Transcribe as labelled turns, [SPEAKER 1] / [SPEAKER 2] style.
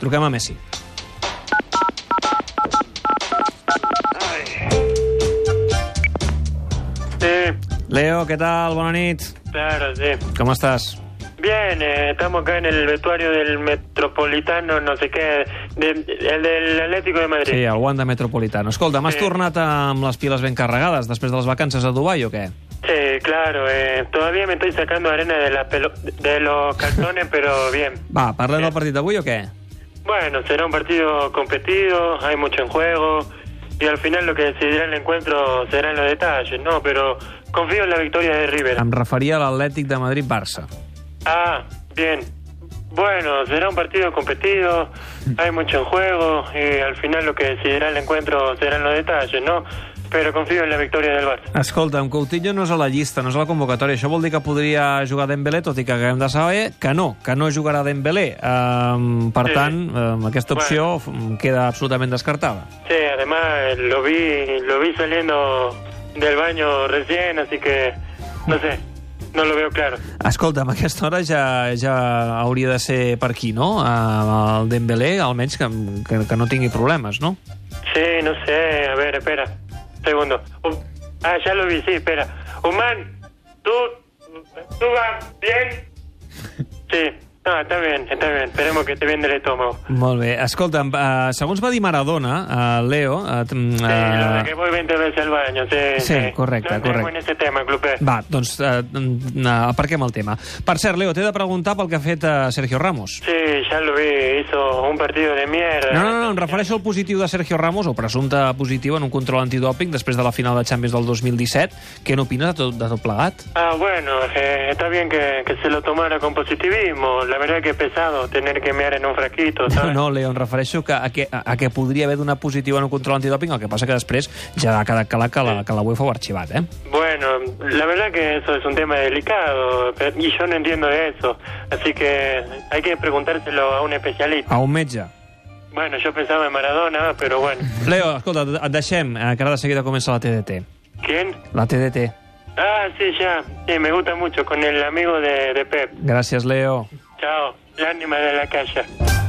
[SPEAKER 1] Truquem a Messi.
[SPEAKER 2] Sí,
[SPEAKER 1] Leo, què tal? Bona nit.
[SPEAKER 2] claro, sí.
[SPEAKER 1] Com estàs?
[SPEAKER 2] Bien, eh, estamos acá en el vestuario del Metropolitano, no sé qué, de- el del Atlético de Madrid.
[SPEAKER 1] Sí, el Wanda Metropolitano. Escolta, m'has
[SPEAKER 2] Sí.
[SPEAKER 1] tornat amb les piles ben carregades després de les vacances a Dubai o què?
[SPEAKER 2] Sí, claro, eh, todavía me estoy sacando arena de, la pelo- de los calzones, pero bien.
[SPEAKER 1] Va, parlem del partit d'avui o què?
[SPEAKER 2] Bueno, será un partido competido, hay mucho en juego, y al final lo que decidirá el encuentro serán los detalles, ¿no? Pero confío en la victoria de River.
[SPEAKER 1] Em referia a l'Atlètic de Madrid-Barça.
[SPEAKER 2] Ah, bien. Bueno, será un partido competido, hay mucho en juego y al final lo que decidirá el encuentro serán los detalles, ¿no? Pero confío en la victoria del Barça.
[SPEAKER 1] Escolta, amb Coutinho no és a la llista, no és a la convocatòria. Això vol dir que podria jugar Dembélé, tot i que acabem de saber que no, que no jugarà Dembélé. Um, per
[SPEAKER 2] Sí.
[SPEAKER 1] tant, um, aquesta opció f- queda absolutament descartada.
[SPEAKER 2] Sí, además eh, lo vi, lo vi saliendo del baño recién, así que no sé, no lo veo claro.
[SPEAKER 1] Escolta, a aquesta hora ja, ja hauria de ser per aquí, no? Uh, el Dembélé, almenys que, que, que no tingui problemes, no?
[SPEAKER 2] Sí, no sé, a ver, espera, segundo. Um, ah, ya lo vi, sí, espera. Human, tú, tú vas bien. Sí, no, está bien, está bien, esperemos que esté bien del estómago.
[SPEAKER 1] Molt bé. Escolta, uh, segons va dir Maradona, uh, Leo... Uh,
[SPEAKER 2] Sí, lo de que voy 20 veces al baño, sí.
[SPEAKER 1] Sí, correcto,
[SPEAKER 2] No entremos
[SPEAKER 1] correcto.
[SPEAKER 2] en ese tema, E. Clupé.
[SPEAKER 1] Va, doncs eh, mm, eh, aparquem el tema. Per cert, Leo, t'he de preguntar pel que ha fet eh, Sergio Ramos.
[SPEAKER 2] Sí, ya lo vi, hizo un partido de mierda.
[SPEAKER 1] No, no, no, em refereixo al positiu de Sergio Ramos, o presumpte positiu en un control antidòping després de la final de Champions del 2017. Què n'opines de tot, de tot plegat?
[SPEAKER 2] Ah, bueno, eh, está bien que, que se lo tomara con positivismo. La verdad que es pesado tener que mear en un fraquito,
[SPEAKER 1] No,
[SPEAKER 2] ¿sabes?
[SPEAKER 1] no, Leo, em refereixo que, a, que, a, a que podria haver donat positiu en un control antidòping, el que passa que després ja ha quedat clar que la, que la UEFA ho ha arxivat, eh?
[SPEAKER 2] Bueno, la verdad que eso es un tema delicado pero- y yo no entiendo eso. Así que hay que preguntárselo a un especialista.
[SPEAKER 1] A un metge.
[SPEAKER 2] Bueno, yo pensaba en Maradona, pero bueno.
[SPEAKER 1] Leo, escolta, et deixem, eh, que ara de seguida comença la TDT.
[SPEAKER 2] ¿Quién?
[SPEAKER 1] La TDT.
[SPEAKER 2] Ah, sí, ya. Sí, me gusta mucho con el amigo de, de Pep.
[SPEAKER 1] Gràcies, Leo.
[SPEAKER 2] Chao, el ánima de la calle.